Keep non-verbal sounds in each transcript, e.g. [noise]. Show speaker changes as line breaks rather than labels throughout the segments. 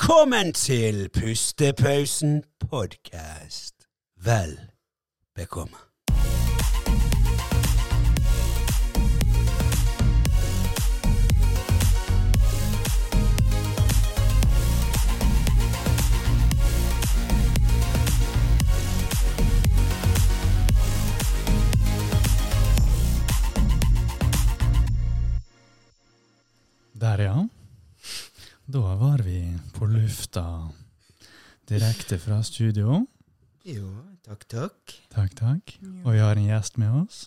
Velkommen til Pustepausen podkast. Vel bekomme.
Der, ja. Da var vi på lufta direkte fra studio.
Jo, takk, takk.
Takk, takk. Og vi har en gjest med oss.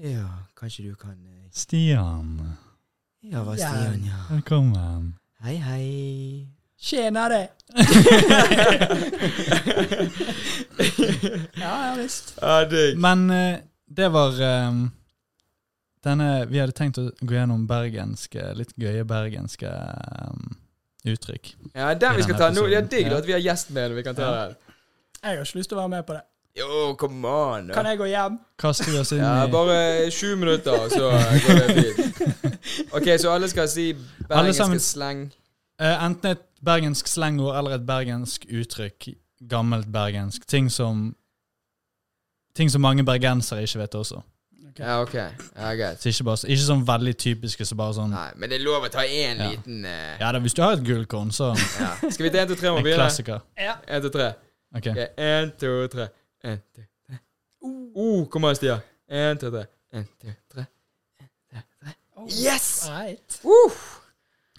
Ja, kanskje du kan eh,
Stian,
Ja, hva Stian, ja.
velkommen.
Hei, hei.
Tjener det! ja, ja visst.
Ja, digg.
Men eh, det var eh, denne Vi hadde tenkt å gå gjennom bergenske, litt gøye bergenske eh, uttrykk.
Ja,
I
den vi skal
denne
ta nå. Det er
episoden.
digg
Ja.
da, at vi har gjest med. når vi kan ta
Ja.
den.
Jeg har ikke lyst til å være med på det.
Jo, come on. da.
Kan jeg gå hjem?
Kaster vi oss inn
Ja,
i
bare sju minutter,
[laughs]
så går det fint. OK, så alle skal si
Alle sammen-
bergenske slang.
Eh, enten et bergensk slengord eller et bergensk uttrykk. Gammelt bergensk. Ting som Ting som mange bergensere ikke vet også.
Ja, OK. Ja, greit.
Så ikke, bare, så- ikke sånn veldig typiske som bare sånn
Nei, men det er lov å ta én
Ja.
liten eh,
Ja da, hvis du har et gullkorn, så
ja. Skal vi til én, to, tre? Må
En
vi begynne?
klassiker.
Én, to, tre.
Ok.
Ok, Én, to, tre. Én, to, tre. Uh, kom an, Stian. Én, to, tre. Én, to, tre. Oh, Yes!
Right.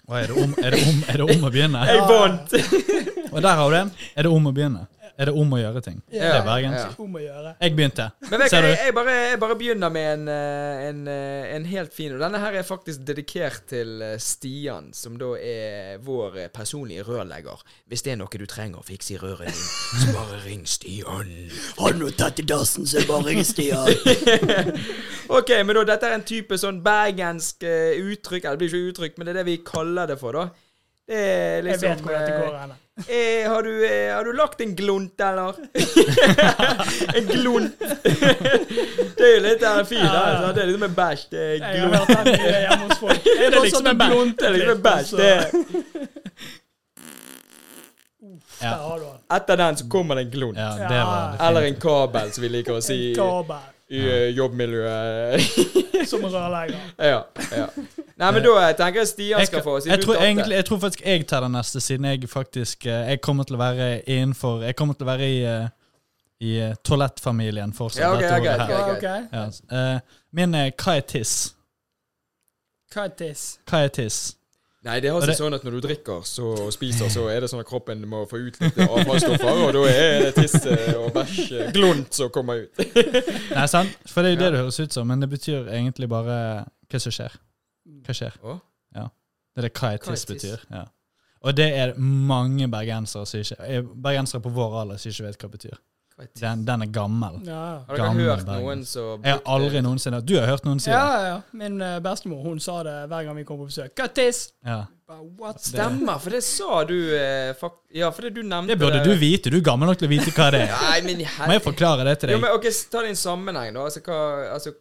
Og er, det om, er, det om, er det om å begynne?
Jeg vant!
Og der har du den. Er det om å begynne? Er det om å gjøre ting?
Ja.
Det er bergensk.
Om å gjøre.
Jeg begynte.
Men vet,
Ser
du?
du?
Jeg, jeg, bare, jeg bare begynner med en, eh, en, eh, en helt fin Og denne her er faktisk dedikert til eh, Stian, som da er vår eh, personlige rørlegger. Hvis det er noe du trenger å fikse i røret ditt, så bare ring Stian.
Har du tatt i dassen, så bare ring Stian.
[laughs] Ok, men da, dette er en type sånn bergensk eh, uttrykk Eller det blir ikke uttrykk, men det er det vi kaller det for, da. Det er
Jeg
liksom
vet hvor dette går
eh,
hen.
eh, har, du, eh, har du lagt en glunt, [laughs] eller? en glunt. [laughs] det er jo litt eh, fint, da. Det er liksom en bæsj. Det er
Jeg
glunt.
har hørt den mye hjemme hos folk. Er det
sånn
liksom en bæsj?
Det er liksom en bæsj. Det er-
Ja.
Der har du den.
Etter den så kommer det en klon.
Ja, det var
Eller
det
en
fint.
kabel, som vi liker å si
En
i,
kabel
i eh, jobbmiljøet. [laughs]
som rørlegger.
ja, ja. Nei, men da eh, tenker jeg Stian
Jeg,
skal få. siden
jeg,
du
tror
tapte.
egentlig, jeg tror faktisk jeg tar den neste, siden jeg faktisk eh, Jeg kommer til å være innenfor Jeg kommer til å være i, eh, i eh, toalettfamilien fortsatt.
Ja, ok,
dette
ok,
året
ok.
her.
Ja, ok.
Ja, eh, min er hva er tiss?
Hva er tiss?
Hva er tiss?
Nei, det har
Og
seg
det-
sånn at når du drikker så, og spiser, så er det sånn at kroppen må få ut litt avfallsstoffer, og da er det tiss eh, og bæsj eh, glunt som kommer ut.
Nei, sant? For det er jo det det høres ut som, men det betyr egentlig bare hva som skjer. Hva skjer?
Å?
Ja. Det er det hva et
Hva er
tiss
tiss?
betyr. Ja. Og det er mange bergensere som ikke eh, Bergensere på vår alder som ikke vet hva det betyr. Den, den er gammel.
Ja.
Har dere
Gammel
hørt
Bergen.
noen som
Jeg har aldri noensinne Du har hørt noen si
Ja,
det?
ja. Min eh, bestemor hun sa det hver gang vi kom på besøk. Hva er tiss?
Ja.
Bare, What?
Stemmer, for det sa du eh, fakt... Ja, for det du nevnte
Det burde du vite. Du er gammel nok til å vite hva det er.
Nei, men
Må jeg
herregud.
forklare det til
Jo,
deg?
men ok, s- Ta det i en sammenheng, da. Altså, hva, altså,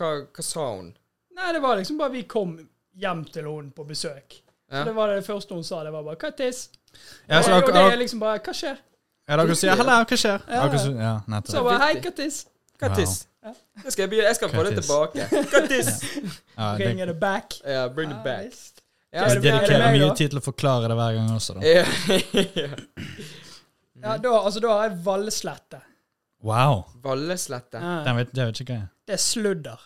hva, hva sa hun?
Nei, det var liksom bare vi kom hjem til henne på besøk.
Ja.
Så det var det første hun sa. Det var bare 'hva er tiss?'
Ja, så
og, og det
dere
er liksom bare 'hva skjer?'
ja, dere sier 'halla, hva skjer?'
Ja,
Dere sier- Ja,
Så
nettopp.
bare 'hei, hva tiss?'
Hva
Wow.
tiss? Det skal jeg, begynne- jeg skal få det
Hva tiss?
tilbake. Hva tiss?
Ja, det,
Ringer det back?
Ja, bring
Ja,
it back.
Ah, visst.
Ja,
Er
jeg
det- er det
dedikerer
meg, da?
mye tid til å forklare det hver gang også, da.
[laughs] ja. Mhm.
Ja, da, altså, da har jeg valslette.
Wow.
Valleslette.
Den vet, det vet ikke hva jeg er.
Det er sludder.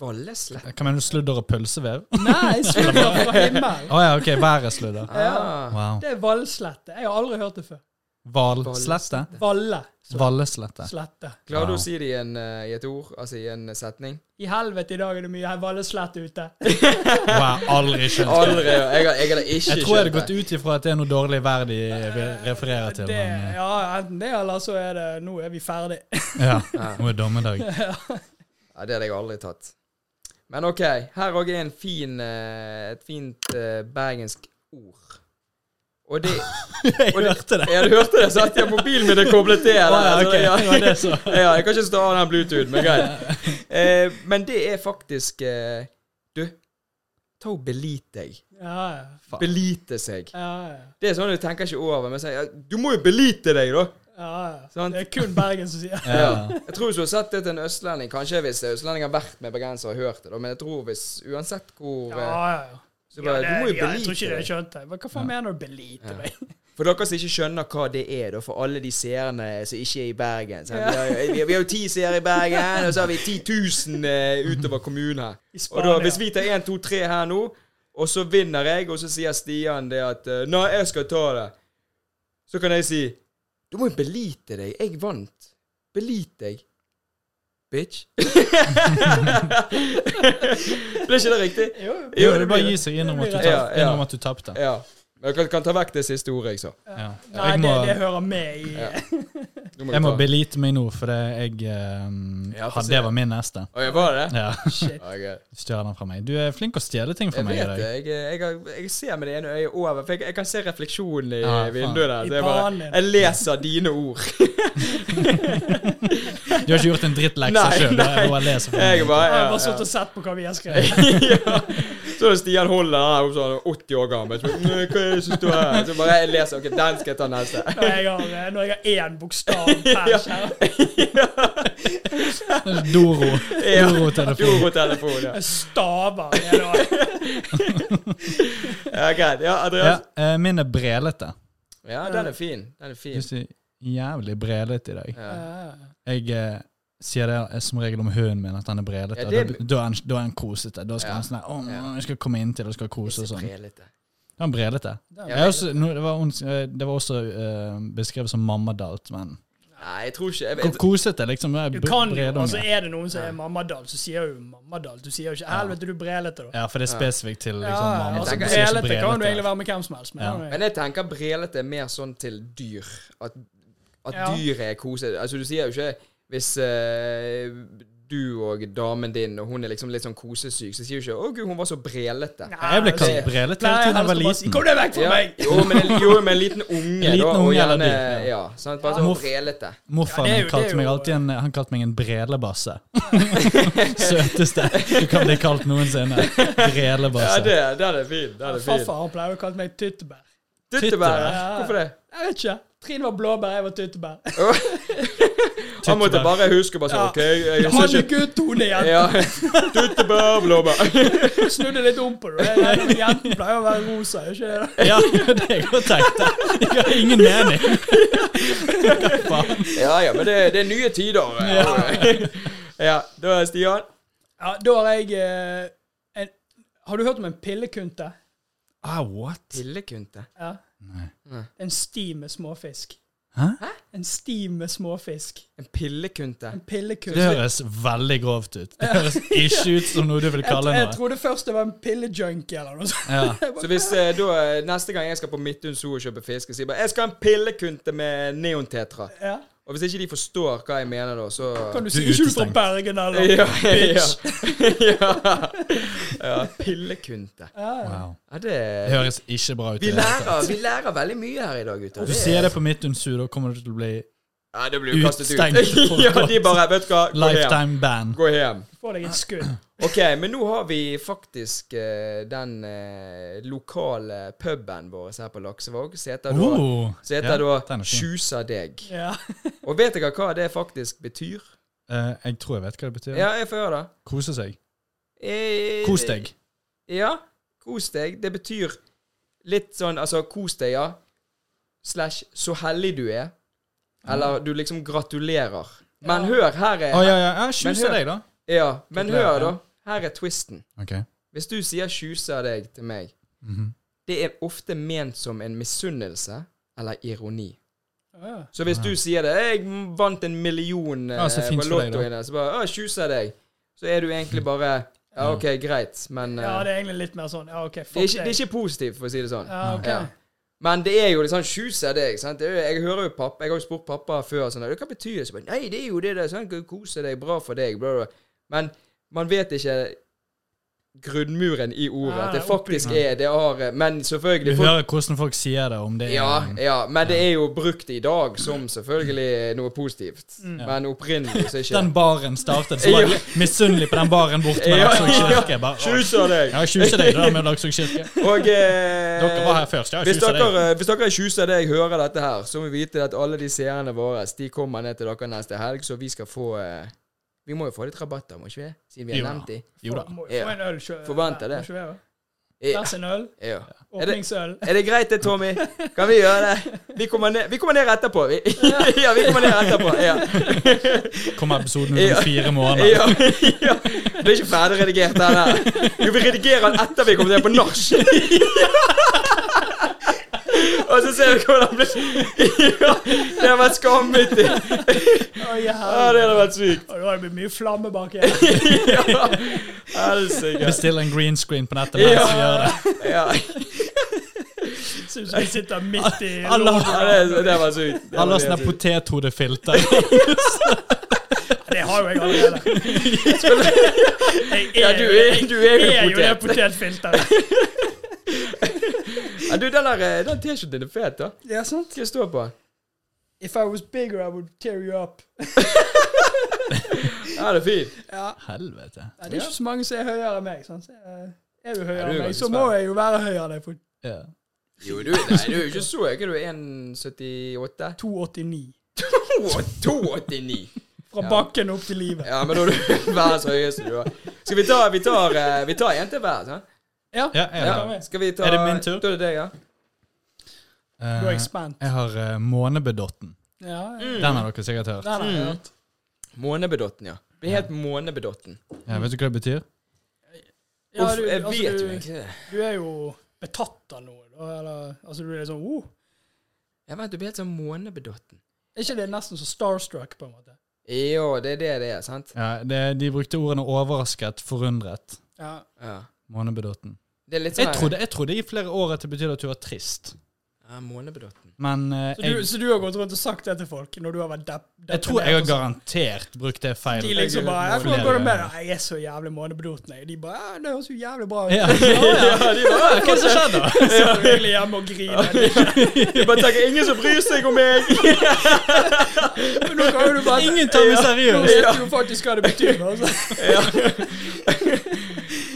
Valleslette?
Hva mener du, sludder og pølsevev?
Nei, sludder [laughs] fra himmelen.
Å ja, ok. Været sludder.
Ah.
Wow.
Det er valslette. Jeg har aldri hørt det før.
Hvalslette?
Valle.
Valleslette.
Slette.
Klarer du
Wow.
å si det i, en, eh, i et ord? Altså i en setning?
I helvete, i dag er det mye valleslette ute.
Wow, aldri skjønt.
Aldri. Jeg har- jeg hadde ikke
Jeg tror jeg hadde
skjønt
gått ut ifra at det er noe dårlig vær de re- refererer til.
Det,
Men, eh,
ja, enten det, eller så er det Nå er vi ferdig. [laughs]
ja, nå er dommedag.
Ja, det hadde jeg aldri tatt. Men OK, her òg er en fin, eh, et fint eh, bergensk ord. Og det
Jeg
Og det-
hørte det.
Jeg hadde hørt det, så at jeg mobilen min er koblet
Å,
til.
ja,
Eller,
ok,
ja.
det var [laughs] det så.
ja, jeg kan ikke stå av den Bluetooth, men greit. Eh, men det er faktisk eh, Du, Ta og belit deg.
Ja, ja.
Belite seg.
Ja, ja.
Det er sånn du tenker ikke over, men sier ja, Du må jo belite deg, da!
ja, ja.
Sant?
Det er kun Bergen som sier
[laughs]
Ja.
Jeg tror hvis du har sett det til en østlending Kanskje hvis østlending har vært med bergensere og hørt det, da, men jeg tror hvis Uansett hvor
Ja,
eh,
ja. ja.
Så bare,
det-
Du må
ja, jeg
jo
tror ikke
belite
jeg
deg.
skjønte det. Hva faen mener du belite
Ja.
meg?
For dere som ikke skjønner hva det er, da, for alle de seerne som ikke er i Bergen sant? vi, har, jo- vi, har- vi har jo ti seere i Bergen, og så har vi 10 000 eh, utover kommunen her.
I
Og
Spania.
da, hvis vi tar 1, 2, 3 her nå, og så vinner jeg, og så sier Stian det at eh, Nei, jeg skal ta det. Så kan jeg si Du må jo belite deg. Jeg vant. Belit deg. Bitch. [laughs] Ble ikke det riktig?
[laughs] Jo, jo.
Jo,
Jo,
det
det
er bare
blir
å
det.
gi seg. Innrømme at du
Ja,
tapte.
ja.
Innrømme at du tapte.
Ja. Men dere kan ta vekk det siste ordet jeg sa.
Ja.
Nei,
Jeg
det,
må,
det hører med i
Ja. Nå
jeg må
ta-
belite meg nå, for det, jeg ehm,
Ja, få
hadde-
se.
Det var min neste.
Å, jeg var det?
Ja. [laughs]
shit.
Ja, greit.
Stjel den fra meg. Du er flink å stjele ting fra
Jeg
meg. i
vet det.
dag.
Jeg, jeg, har- jeg ser med det ene øyet over, for jeg, jeg kan se refleksjonen i
Ja, faen.
vinduet der.
I
Så jeg, bare,
panen.
jeg leser dine ord.
Du har ikke gjort en drittlekse
Nei,
sjøl.
nei. Jeg bare,
Jeg har
ja,
bare
ja.
sittet og sett på hva vi har skrevet.
ja. Så er det Stian Holland, han er jo sånn 80 år gammel. Så, «Nei, hva er det som står her? Så bare jeg leser, ok, den skal jeg ta
[laughs]
neste.
Når jeg har, eh, når jeg har én bokstav per
[laughs] Ja.
skjerm.
Doro.
Ja.
Doro-telefon.
Doro-telefon. Ja.
Jeg staver det da.
ja, greit. Ja,
Ja,
Andreas.
eh, min er brelete.
Ja, den er fin. Den er fin.
Jeg er jævlig brelete i dag.
Ja.
Jeg eh, sier det eh, som regel om hunden min, at han er brelete.
Ja, det-
da, da er han, da er han kosete. Da skal
Ja.
han sånn her, «Åh,
Ja.
jeg skal komme inntil og skal kose og sånn.
Prelete.
Han brelete.
Ja,
Jeg er også, nå, det var, ons- eh, det var også eh, beskrevet som mammadalt, men
Nei, jeg tror ikke jeg,
Hvor
vet-
kosete, liksom. Det er
Du
bre-
kan jo,
bredunge.
altså Er det noen som er mammadal, så sier jo mammadal. Du sier jo ikke 'helvete, du brelete', da.
Ja, for det er spesifikt til liksom,
Ja,
mamma.
altså,
tenker-
som sier så
brelete kan du
brelete.
egentlig være med hvem som helst. Men
Ja.
ja.
Men jeg tenker brelete er mer sånn til dyr. At, at
Ja.
dyret er kosete. Altså, du sier jo ikke hvis eh, du og damen din, og hun er liksom litt sånn kosesyk, så sier du ikke 'Å, gud, hun var så brelete'.
Jeg ble
altså,
kalt brelete hele tiden
Nei, jeg
jeg
helst
var
å bare si,
liten.
Kom deg vekk fra
Ja.
meg!
Jo, men en, jo, men en liten unge,
En liten
da.
unge
og
eller
gjerne,
dyr, ja.
ja. sant? Bare sånn
Morf-
brelete.
Morfar
Ja, det er
min
jo- det
kalte
er
meg
jo-
alltid en, han kalte meg en brelebasse. Søteste du kan bli kalt noensinne.
Ja,
Brelebasse.
det, den er fin. Den er fin.
Farfar han pleier å kalle meg tyttebær.
Tyttebær.
Ja.
Hvorfor det?
Jeg vet ikke. Trine var blåbær, jeg var tyttebær.
Han måtte
Tyttebær.
bare huske bare sånn
Ja.
OK, jeg
Han
ser
er
ikke
gutt, hun er jente.
ja. [laughs] Tyttebær, blåbær.
Jeg snudde litt om på det. Jeg regner med Jenten pleier å være rosa, er ikke det?
Ja, det jeg godt tenkt. Jeg har ingen mening. Hva faen?
Ja ja, men det, det er nye
[laughs]
tider. Ja, da er Stian.
Ja, da har jeg eh, en, Har du hørt om en pillekunte?
Ah, what?
Pillekunte.
Ja.
Nei.
En sti med småfisk.
Hæ?
En sti med småfisk.
En pillekunte.
En
Det
pillekunte.
høres veldig grovt ut. Det høres ikke ut som noe du vil
Jeg,
kalle
jeg
noe.
trodde først det var en pillejunkie eller noe sånt.
Ja.
Så hvis eh, da eh, neste gang jeg skal på Midtun Zoo og kjøpe fisk, sier jeg bare 'Jeg skal ha en pillekunte med neontetra'.
Ja.
Og hvis ikke de forstår hva jeg mener da, så
Kan du
Du
si
er
ikke du fra
utestengt.
Bergen, eller?
[laughs] ja, ja,
Bitch.
[laughs] ja. ja. Pillekunte.
Wow.
Ja, det
Det høres ikke bra ut.
vi
i det hele tatt.
lærer, vi lærer veldig mye her i dag, gutter.
Du sier det på mitt unsu, da kommer du til å bli
ja, det blir jo kastet
Utstengt
ut.
for
[laughs] ja,
godt.
de bare Vet du hva, gå hjem.
lifetime ban.
Gå hjem.
Få deg et skudd.
Ok, men nå har vi faktisk eh, den eh, lokale puben vår her på Laksevåg. Så heter da,
Oh,
så
ja,
heter da
den er fin.
Tjusa deg.
Ja.
Og vet dere hva det faktisk betyr?
Eh, jeg tror jeg vet hva det betyr.
Ja, jeg får høre det.
Kose seg.
Eh,
Kos deg.
Ja. Kos deg. Det betyr litt sånn Altså, kos deg, ja. Slash så hellig du er. Eller du liksom gratulerer. Men hør, her
Å
er
ja, ja. ja
Men
Kjuse
hør-
deg, da.
Ja, men
Gratulerer,
hør, da. Her er twisten.
Ok.
Hvis du sier 'tjuse av deg' til meg,
Mhm.
det er ofte ment som en misunnelse eller ironi.
Ja.
Så hvis du sier det 'Jeg vant en million eh,
Ja, Ah, så
på
fint for deg, da.
lottoen', her», så bare 'Å, tjuse av deg', så er du egentlig bare 'Ja, OK, greit', men
ja,
eh,
det er egentlig litt mer sånn Ja, OK, fuck
det er, ikke, det
deg.
er ikke positivt, for å si det sånn.
ja, ok.
Ja. Men det er jo liksom tjus av deg. sant? Det er, jo- jeg hører jo pappa, jeg har jo spurt pappa før sånn, hva betyr det? Så bare, Nei, det er jo det der. sånn, Kose deg, bra for deg. Bla, bla. Men man vet ikke grunnmuren i ordet. At det
Ja,
faktisk
oppbyggingen.
er det har Men
Du
selvfølgelig folk,
hører hvordan folk sier det, om det er
ja, ja, men det er jo brukt i dag som selvfølgelig noe positivt.
Mm.
Men opprinnelig så er ikke
Den baren startet,
[laughs]
så var jeg misunnelig på den baren borte ved
Ja,
Laksevåg
ja.
kirke. Bare, «Å,
Tjuser deg!
Ja, tjuse deg, det der med Laksevåg
[laughs]
kirke.
Og eh,
Dere var her først, ja.
Hvis
Tjuse deg.
dere, eh, hvis dere er tjuser det jeg hører dette her, så må vi vite at alle de seerne våre De kommer ned til dere neste helg, så vi skal få eh, Vi må jo få litt rabatter, må ikke vi? Siden vi
Jo da.
har nevnt de.
Jo da.
Må jo
Ja.
få en øl sjø-
Forventer det.
må ikke være.
Ja,
Vær sin øl.
ja. Er det-
Åpningsøl.
Er det greit det, Tommy? Kan vi gjøre det? Vi kommer ned, vi kommer ned etterpå, vi. [laughs] Ja, vi kommer ned etterpå. Ja.
Kommer episoden ut om fire måneder.
[laughs] Ja, ja. Det er ikke ferdig redigert, den her. Jo, vi redigerer den etter vi kommer ned på nach. [laughs] Og så ser vi hvordan det blir. [laughs] Ja, det har vært skammet.
Å, ja.
[laughs] Ja, det hadde vært sykt.
Og da har det blitt mye flamme bak her.
Ja. Helsike.
Bestille en green screen på nettet mens vi gjør det.
Ja.
Syns vi sitter midt i
Alle har-
Ja, det, det var sykt. Det var
Alle har
helt
sånne
sykt. [laughs]
potethodefilter.
Det har jo jeg allerede. Jeg er,
Ja, du er, du er
jeg er jo
jo
det
en potet.
potetfilteret.
Ja, du, den der, eh, den T-skjorten din er fet, da.
Ja, sant?
Skal jeg stå på?
If I was bigger, I would tear you up.
Ja, det er fint.
Ja,
Helvete.
ja, Det er ikke så mange som er høyere enn meg. Sant? Så, eh, Er du høyere
Ja, du er
enn meg,
ganske
så må
svær.
jeg jo være høyere enn deg på
Ja.
Jo, du, nei, du er jo ikke så høy. Er ikke du 1,78?
2,89.
To- 2,89!
Fra bakken opp til livet.
Ja, men da er du [laughs] verdens høyeste, du òg. Skal vi ta Vi tar, eh, vi tar en til hver, sant?
Ja,
Ja, jeg
Ja.
har det.
Skal vi ta
Er det min tur?
Da er det deg, ja.
du er
Eh,
jeg spent.
Jeg har eh, Månebedotten.
Ja, ja.
Den har dere sikkert hørt.
Den har jeg hørt.
Mm. Månebedotten, ja. Blir helt månebedotten.
Ja, vet du hva det betyr?
Ja,
Uff,
du,
jeg
altså,
vet jo
du,
egentlig det.
du er jo betatt av noe. Da, eller, altså, du er sånn oh.
Jeg vet, du blir helt sånn månebedotten.
Er ikke det nesten så starstruck, på en måte?
Jo, det er det det er, sant?
Ja, det, de brukte ordene overrasket, forundret.
Ja.
Ja.
Månebedotten.
Det er litt sånn
Jeg trodde, jeg trodde i flere år at det betydde at du var trist.
Ja, månebedotten.
Men eh,
Så, du,
jeg,
så du har gått rundt og sagt det til folk når du har vært depp?
jeg tror jeg har
deprimert og sånn?
garantert brukt det feil.
De liksom bare
Jeg-
jeg, får gå det med deg. jeg er så jævlig månebedoten, jeg. De bare ja, 'Det høres jo jævlig bra ut'.
[laughs] Ja.
Ja, ja.
Hva er det som
[laughs]
skjedde?
Så er jeg egentlig hjemme og griner.
Jeg bare tenker, ingen som bryr seg om meg!
Men nå kan jo du bare
Ingen tar meg
Nå
seriøst.
vet du jo faktisk hva det betyr. Altså.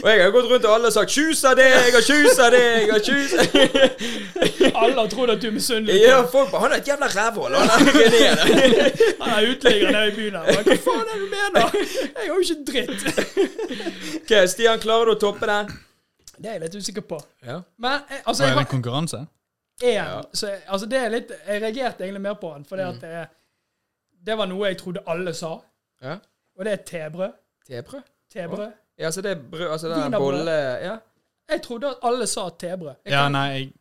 Og jeg har gått rundt og alle har sagt 'tjusa deg' og 'tjusa deg' og 'tjusa
Alle har trodd at du er misunnelig.
Ja, folk bare 'Han er et jævla rævhål', han er ikke det.
Han er uteligger nede i byen her. Hva faen er det du mener? Jeg har jo ikke dritt.
Ok, Stian, klarer du å toppe den?
Det er jeg litt usikker på.
Ja.
Men eh, altså,
Var
jeg
det en
har
konkurranse?
Ja. Mm.
én så jeg- altså, det er litt, Jeg reagerte egentlig mer på han, fordi at det, det var noe jeg trodde alle sa,
ja.
og det er tebrød.
Tebrød?
Tebrød.
Ja, så det er brød Altså den der
Wienerbrød.
bolle... Ja,
Jeg trodde at alle sa tebrød. Jeg
Ja,
kan-
nei, jeg,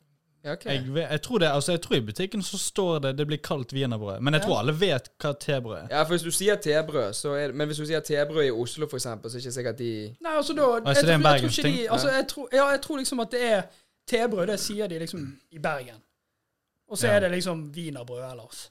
ja ok.
jeg, ve- jeg tror det. Altså, jeg tror i butikken så står det det blir kalt wienerbrød. Men jeg tror alle vet hva tebrød er.
Ja, for hvis du sier tebrød, så er det Men hvis du sier tebrød i Oslo, for eksempel, så er det ikke sikkert de
Nei, altså da jeg,
det er en
tror- jeg, tror
bergensk
ikke
ting?
de, altså, jeg, tror, ja, jeg tror liksom at det er tebrød, det sier de liksom i Bergen. Og så
Ja. Mm.
er det liksom wienerbrød ellers.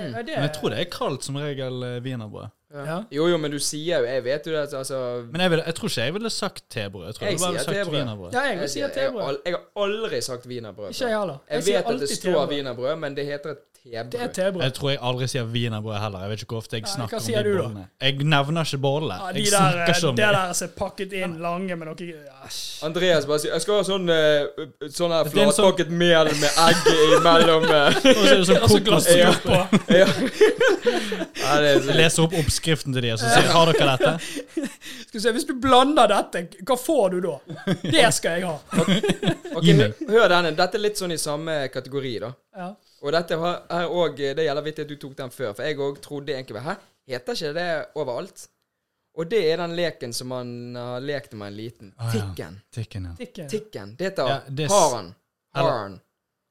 Eh, det,
Men jeg tror det er kalt som regel eh, wienerbrød.
Ja.
Jo, jo, men du sier jo Jeg vet jo det, altså
Men jeg, vil, jeg tror ikke jeg ville sagt tebrød. Jeg tror
Jeg
jeg, bare ville
sier
sagt
tebrød.
wienerbrød.
Ja, jeg
Jeg,
vil si
sier, jeg, har
tebrød.
al- jeg har aldri sagt wienerbrød.
Ikke jeg heller.
Jeg
sier
vet at det
alltid
står
tebrød.
wienerbrød, men det heter tebrød.
Det er tebrød.
Jeg tror jeg aldri sier wienerbrød heller. Jeg vet ikke hvor ofte jeg
Nei,
snakker
hva
om
sier
de
du da?
bollene. Jeg nevner ikke bollene.
Ja, de
Jeg
der, eh,
snakker ikke om
det
det.
der som er pakket inn lange med noe Æsj.
Andreas bare sier 'Jeg skal ha sånn eh, Sånn her
Det er en sånn-
flatpakket mel med egg imellom
[laughs]
eh.»
Og så er det
[laughs]
sånn kokos.
Ja.
Jeg
ja. ja, det er så
leser opp oppskriften til de, og så sier har dere dette?
Skal vi se, Hvis du blander dette, hva får du da? Det skal jeg ha.
Ok,
Gi meg.
hø- Hør denne. Dette er litt sånn i samme kategori, da.
Ja.
Og dette har, er òg Det gjelder vittig at du tok den før, for jeg òg trodde egentlig Hæ, heter ikke det overalt? Og det er den leken som man har lekt når man er liten.
Å, ja.
Tikken.
Tikken, ja.
Tikken.
Tikken. Det heter
Ja, det er s-
har han. Har
eller-
han.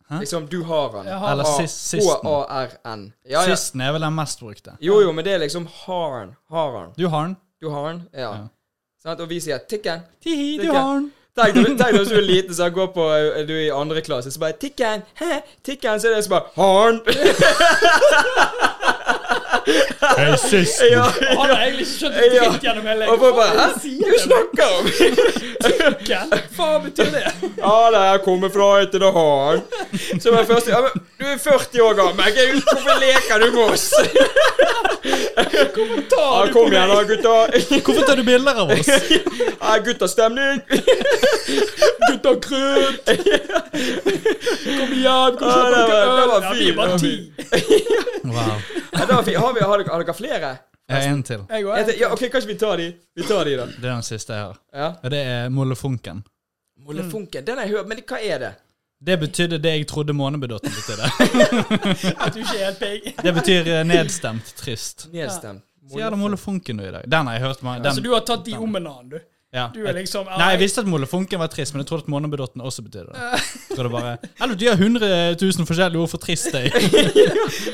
Hæ?
Liksom, du har han.
Jeg
Eller
har
A-
sist, sisten.
H-A-R-N. Ja, ja.
Sisten er vel den mest brukte.
Jo, jo, men det er liksom har han. Har han.
Du har den.
Du har han. Ja.
Ja.
Sant? Og vi sier tikken.
Tihi, du
Tikken.
har den.
Tenk deg tenk deg hvis du er liten, så han går på eh, Du er i andre klasse, så bare Tikken! Hæ? Tikken! Så er det som bare Har han!
Racisten.
Ja,
Han har
ja.
egentlig ikke skjønt en
Ja.
dritt gjennom hele
Og folk bare Hæ? Hva du
Hva
snakker om? [laughs]
faen betyr det?
Ja, det er kommet fra etter det har. Så var jeg først ja, men, Du er 40 år gammel, Gud, hvorfor leker du med oss? Ja,
Tar du
kom igjen da, gutta.
Hvorfor tar du bilder av
[laughs]
[laughs]
oss?
Ja, guttastemning.
Gutta krøp! Kom igjen, kom
Ja,
og
det
kjøp noe
var- det
øl!
var
Ja, Vi
fint,
er bare
det var
ti.
Wow.
Ja, da, har vi- har, vi, har, dere, har dere flere?
Jeg har en til.
Jeg
Jeg
og
tenker, Ja, ok, Kanskje vi tar de? Vi tar de, da.
Det er den siste jeg har.
Ja.
Og det er Mollefunken.
Mollefunken. Den har jeg hørt, men hva er det?
Det betydde det jeg trodde månebedotten
[laughs]
betydde.
At du ikke er helt peg.
Det betyr eh, nedstemt trist.
Nedstemt.
Så ja, det er Mollefunken nå i dag. Den har jeg hørt meg.
Så
Den,
Altså, du har tatt de om en annen, du.
ja.
Du er liksom
Nei, jeg visste at Mollefunken var trist, men jeg trodde at månebedotten også betydde det. Jeg trodde bare, Eller de har 100 000 forskjellige ord for trist.
[laughs]
Jeg.
det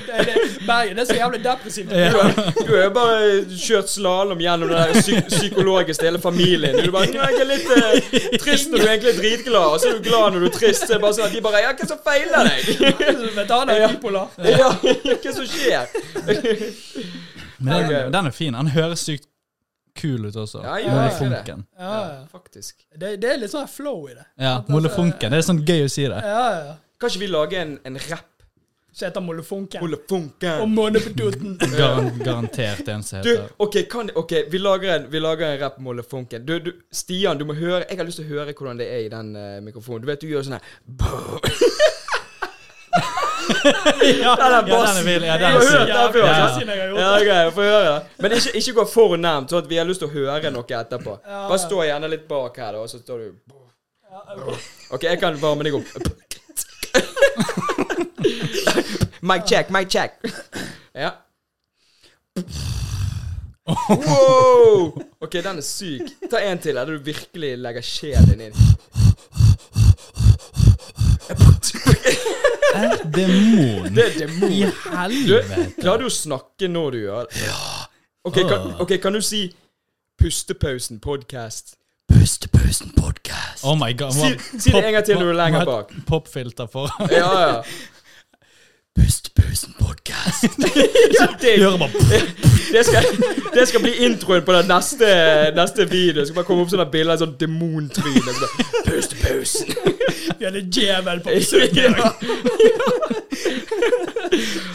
er det- Bergen, det er så jævlig depressivt.
Du har, du har jo bare kjørt slalåm gjennom det der psy psykologiske til hele familien. Du er bare, «Nei, jeg er litt eh, trist når du egentlig er dritglad, og så er du glad når du er trist. Så er det bare sånn at de bare Ja, hva som feiler deg?
Vet du, han er
Ja.
bipolar.
Ja, hva som skjer?
Men den,
Ok.
den er fin. Den høres sykt kul ut også.
Ja, ja,
Mollefunken.
Ja, ja.
Faktisk.
Det, det er litt sånn flow i det.
Ja, Mollefunken. Det er sånn gøy å si det.
Ja, ja.
Kan ikke vi lage en, en rapp?
Så heter han Molefonken. Og
Mollefunken.
Månebedoten.
Garan, garantert en som
Du,
heter
ok, kan, det- ok, vi lager en, vi lager en rapp om Mollefunken. Du, du, Stian, du må høre Jeg har lyst til å høre hvordan det er i den eh, mikrofonen. Du vet du gjør sånn her [laughs]
[laughs] Ja,
den er
den er
bassen.
vill. Ja,
Du
den
har
er
hørt
syk.
den før? altså.
Ja,
sant?
ja.
Siden jeg har gjort
Ja,
det.
ok, få høre. Men ikke, ikke gå for nærmt, sånn at vi har lyst til å høre noe etterpå.
Ja.
Bare stå gjerne litt bak her, da, og så står du OK, jeg kan varme deg opp. Mic check, mic check. Ja. Wow! OK, den er syk. Ta en til, der du virkelig legger sjelen inn.
En demon.
Det er demon.
I
Du,
helvete.
klarer du å snakke når du gjør det? Ja. Ok, kan, ok, kan du si 'Pustepausen podcast'?
Pustepausen podcast.
Oh my god.
Si,
må-
si det
pop-
en gang til når du er
må-
lenger
må-
bak.
Popfilter foran.
Ja, ja.
Pustepausen
[laughs]
podcast.
Det,
Hører bare
det, skal, det skal bli introen på den neste, neste videoen. Det skal bare komme opp sånne bilder av sånn demontryne. så bare, Pustepausen.
Vi hadde djevel
[laughs]
på besøk.
Ja.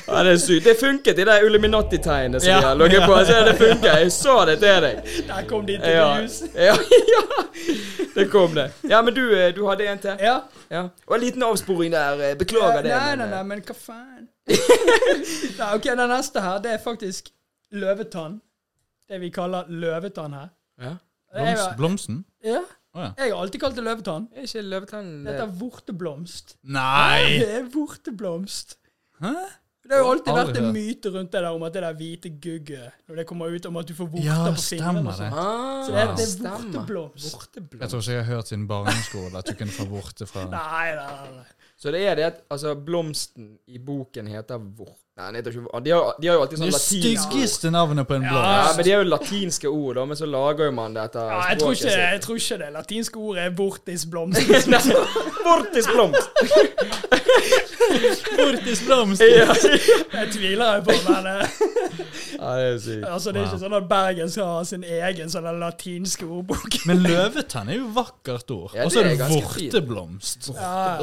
ja, det er sykt. Det funket i det Illuminati-tegnet som
Ja.
vi har logget på. Jeg ser det funker. Jeg sa det til deg.
Der kom de til
Ja.
hus.
ja, ja. Det kom det. Ja, men du, eh, du hadde en til?
Ja.
Ja. Og en liten avsporing der. eh, Beklager det.
Nei,
men,
nei,
eh,
nei, men hva [laughs] faen? nei, ok, Den neste her, det er faktisk løvetann. Det vi kaller løvetann her.
Ja.
Jeg, var-
Blomsten?
ja,
Å ja.
jeg har alltid kalt det løvetann.
Er ikke løvetann
Dette
eh,
er vorteblomst.
Nei!
[laughs] Det er vorteblomst.
Hæ?
Det har jo alltid
Aldri
vært en
hørt.
myte rundt det der om at det der hvite gugget Når det kommer ut om at du får vorter
Ja,
på fingrene.
stemmer
og sånn.
det.
ah,
Så det er, det er
stemmer.
vorteblomst.
Jeg
Vorteblomst.
tror ikke jeg har hørt siden barneskolen at du kunne få borte fra
Nei, nei, nei. nei.
Så det er det at altså, blomsten i boken heter vort... Nei, den heter ikke vort. De har, de har jo alltid
Det
sånn latinske ord.
styggeste navnet på en
Ja,
blomst.
men de er jo latinske ord, da, men så lager jo man det etter
Ja, jeg, tror ikke, jeg tror ikke det latinske ordet er vortisblomst. [laughs]
[laughs] ikke Vortisblomst!
Bortisblomst!
Ja.
Jeg tviler jo på, men eh,
ja, det er sykt.
altså, det er ikke sånn at Bergen skal ha sin egen sånn latinske ordbok. [laughs]
Men løvetann er jo vakkert ord.
Ja,
Og så er
det er
det
ganske fint.
vorteblomst.
Ja,
Øh.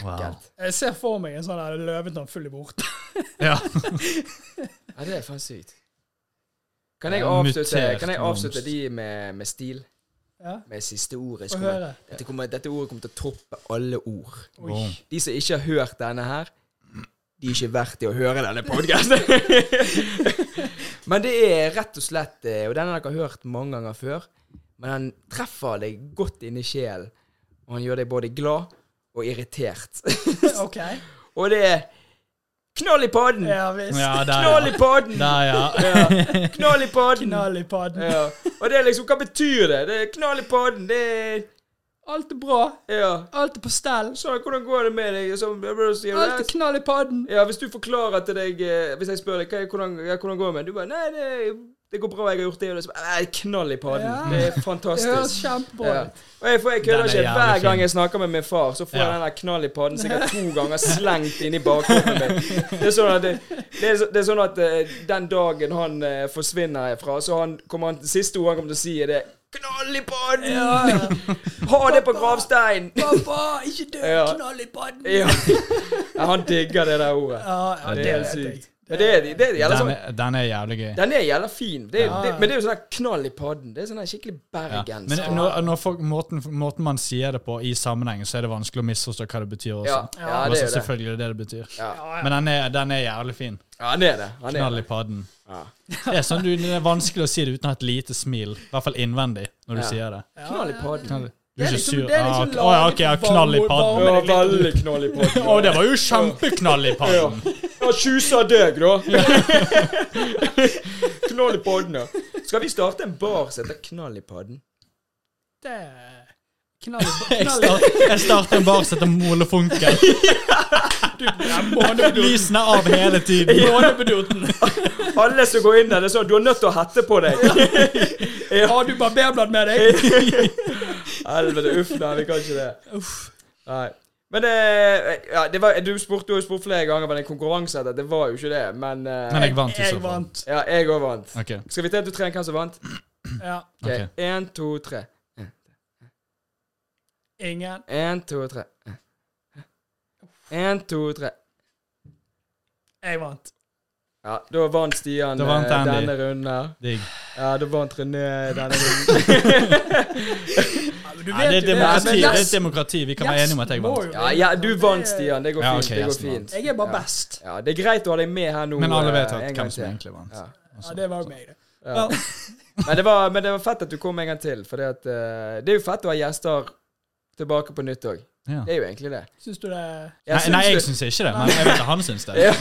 Wow.
Ekkelt.
jeg ser for meg en sånn her løvetann full i vorter.
Ja.
Ja, det er faen sykt. Kan jeg
Ja,
avslutte,
mutert
kan jeg avslutte
blomst.
de med, med stil?
Ja,
Med siste ordet? så
Få
kommer-
høre.
Dette, kommer, dette ordet kommer til å toppe alle ord.
Boom.
De som ikke har hørt denne her, de er ikke verdt i å høre denne
[laughs]
podkasten. men det er rett og slett eh, Og denne har dere hørt mange ganger før. Men han treffer deg godt inni sjelen, og han gjør deg både glad og irritert.
[laughs]
[laughs]
OK.
og det er knall i padden!
Ja visst.
Ja, der,
Knall i
ja.
padden!
Der, ja.
Ja. Knall i padden!
Knall i padden.
Ja. Og det er liksom Hva betyr det? Det er knall i padden. Det er
Alt er bra.
Ja.
Alt er på stell.
Sånn, hvordan går det med deg? Sånn, jeg bare sier,
Alt er knall i padden.
Ja, hvis du forklarer til deg eh, Hvis jeg spør deg hva, hvordan, ja, hvordan går det med Du bare, nei, det, det går bra, jeg har gjort det og det. Så bare, Nei, knall i padden.
Ja.
Det er
Det høres
fantastisk.
kjempebra
Ja.
ut.
Og jeg, for jeg kødder
Den er
ikke.
jævlig
Hver gang
fin.
jeg snakker med min far, så får jeg
Ja.
den der knall i padden sikkert to
[laughs]
ganger slengt inn i bakrommet mitt. Det er sånn at, det, det er, så- det er sånn at eh, den dagen han eh, forsvinner herfra, så han, kommer han, siste ordet han kommer til å si, er det Knall i padden!
Ja, ja.
Ha det på gravsteinen!
[laughs] Pappa, ikke dø!
Ja.
Knall i padden!
Ja. ja, han digger det der ordet.
Ja, ja,
Det er helt sykt. Men
Det
det,
er
er- det er jævla
Den
sånn
er, den er jævlig gøy.
Den er jævla fin, det er,
Ja.
det, men det er jo sånn der knall i padden. Det er altså. sånn der skikkelig
Ja.
bergensk.
Men når, når folk, måten, måten man sier det på i sammenheng, så er det vanskelig å misforstå hva det betyr også.
ja, ja, det
altså,
er jo det.
selvfølgelig er det det betyr.
Ja,
Ja, ja.
Men den er, den er jævlig fin.
ja han er det. Han er
Knall i
det.
padden.
Ja.
Det er, sånn, du, det er vanskelig å si det uten å ha et lite smil, i hvert fall innvendig, når du
Ja.
sier det.
Knall i padden.
Knall. Du
Det er
er ikke
liksom-
sur.
det er
Ah,
liksom
ok, Å ja, ok, ja, knall i
laget
padden.
varme-
Ja, veldig knall i
Å,
padden.
det var jo kjempeknall i
Ja.
padden.
Ja, tjusa deg, da. [laughs] knall i padden, ja. Skal vi starte en bar som heter Knall i padden?
Det er Knall
[laughs]
i
[laughs] Jeg
knall i-
start- jeg starter en bar som heter Molefunken. Lysene er av hele tiden.
Lånebeduten.
Alle som går inn der, det er sånn du er nødt til å hette på deg.
Har du barberblad med deg?
Helvete, uff, nei, vi kan ikke det. Nei. Men eh, ja, det var, du spurte du har jo spurt flere ganger om en konkurranse. etter, Det var jo ikke det, men eh,
Men jeg vant i så
Jeg
fall.
vant.
Ja, jeg òg vant.
Ok,
Skal vi til at du trener hvem som vant?
Ja.
Ok,
Ok.
Én, to, tre.
Ingen.
Én, to, tre. Én, to, tre.
Jeg vant.
Ja, da vant Stian
Da vant
eh,
Andy.
denne runden her.
digg.
Ja, da vant René
[laughs]
denne runden.
Ja, men du
Ja,
vet
det, er
jo
demokrati,
demokrati, det
men
er
Lars-
demokrati. Vi kan være
Yes,
enige om at jeg
må
vant.
jo
Ja,
vinne,
ja,
så
du
det-
vant, Stian. Det går
Ja,
fint.
ok,
det går
Jensen vant.
fint.
Jeg er bare
Ja.
best.
Ja, det er greit å ha deg med her nå.
Men alle
eh,
vet
en
at
gang
hvem som
til.
egentlig vant.
Ja.
Ja, det var jo meg, det.
Ja. [laughs] men, det var, men det var fett at du kom en gang til. For det, det er jo fett å ha gjester tilbake på nytt òg.
Ja.
Det er jo egentlig det.
Syns du det
Nei,
Jeg
nei,
syns
jeg
det-
syns ikke det, men jeg vet at han syns det.
Ja.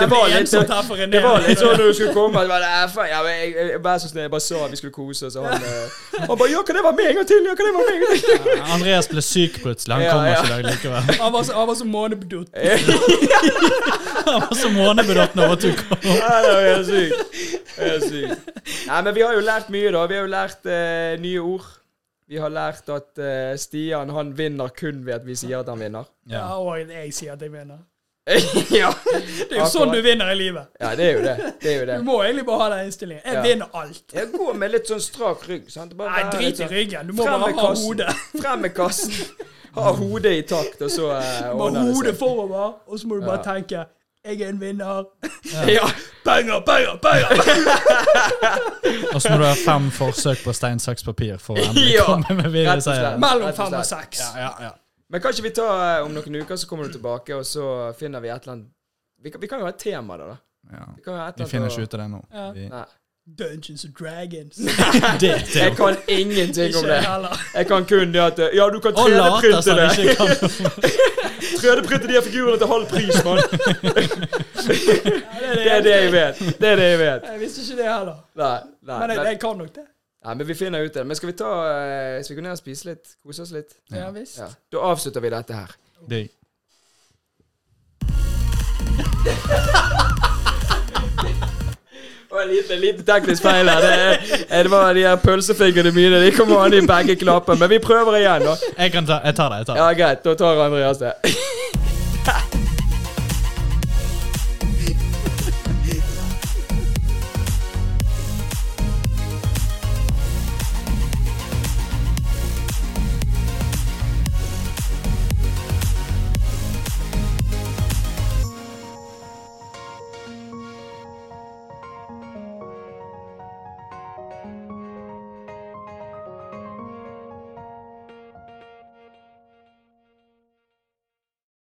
Det
var litt-
her for René.
Det var litt sånn når du skulle komme at bare, "Nei, faen, ja, men jeg, jeg, Vær så snill, jeg bare sa vi skulle kose oss. Og han, eh, han bare 'Ja, kan det være meg en gang til?' Ja, kan det være meg en gang til?
Andreas ble syk plutselig. Han
Ja,
kommer
ja.
ikke i dag likevel. [laughs]
Han var så, han var så månebedott.
Han var så månebedotten overtok ham.
[laughs] Ja, det var helt sykt. Helt sykt. Nei, men vi har jo lært mye, da. Vi har jo lært eh, nye ord. Vi har lært at eh, Stian han vinner kun ved at vi sier at han vinner. [laughs]
Ja.
Ja, og jeg sier at jeg vinner.
ja.
Det er jo sånn du vinner i livet.
ja, det er jo det. Det er jo det.
Du må egentlig bare ha den innstillingen. Jeg
Ja.
vinner alt.
Jeg går med litt sånn strak rygg. sant? Bare
Nei,
være litt
drit i
sånn-
ryggen. Du må
Frem
bare
med
ha
kassen.
hodet.
Frem med kassen. Ha hodet i takt, og så eh,
Du må ha
ordner det
hodet
seg.
forover, og så må du bare
Ja.
tenke jeg er en vinner.
Ja, penger, penger, penger!
Og så må du ha fem forsøk på stein, saks, papir for å endelig
Ja,
komme med videre
rett og slett.
seier.
Mellom
Rett og
fem og
slett.
seks.
Ja, ja.
[laughs] Men kan ikke vi ta eh, om noen uker, så kommer du tilbake, og så finner vi et eller annet Vi kan, vi kan jo ha et tema, da. da.
ja.
Vi kan jo ha et
Vi
eller
finner
annet
ikke ut av det nå.
Ja.
Vi,
Nei.
Dungeons and Dragons.
det
Jeg
til.
kan ingenting om
Ikke
det.
heller.
Jeg kan kun det at eh, Ja, du kan
Og later
3D-printe
som
det.
han ikke kan.
3D-printe de her figurene til halv pris, mann.
Ja, [laughs] det er det
Det er det jeg
eneste.
vet. Det er det jeg vet.
Jeg visste ikke det heller.
Nei, nei.
Men jeg,
Men,
jeg kan nok det.
nei, men vi finner ut det. Men skal vi ta eh, Skal vi gå ned og spise litt? Kose oss litt?
Ja.
Ja visst.
Ja. Da avslutter vi dette her.
Digg.
Det var en liten, liten teknisk feil her. Det, er- det var de her pølsefingrene mine. De kommer an i begge knapper. Men vi prøver igjen, da.
Jeg kan ta, jeg tar det. jeg tar det.
Ja, greit. Da tar Andreas det.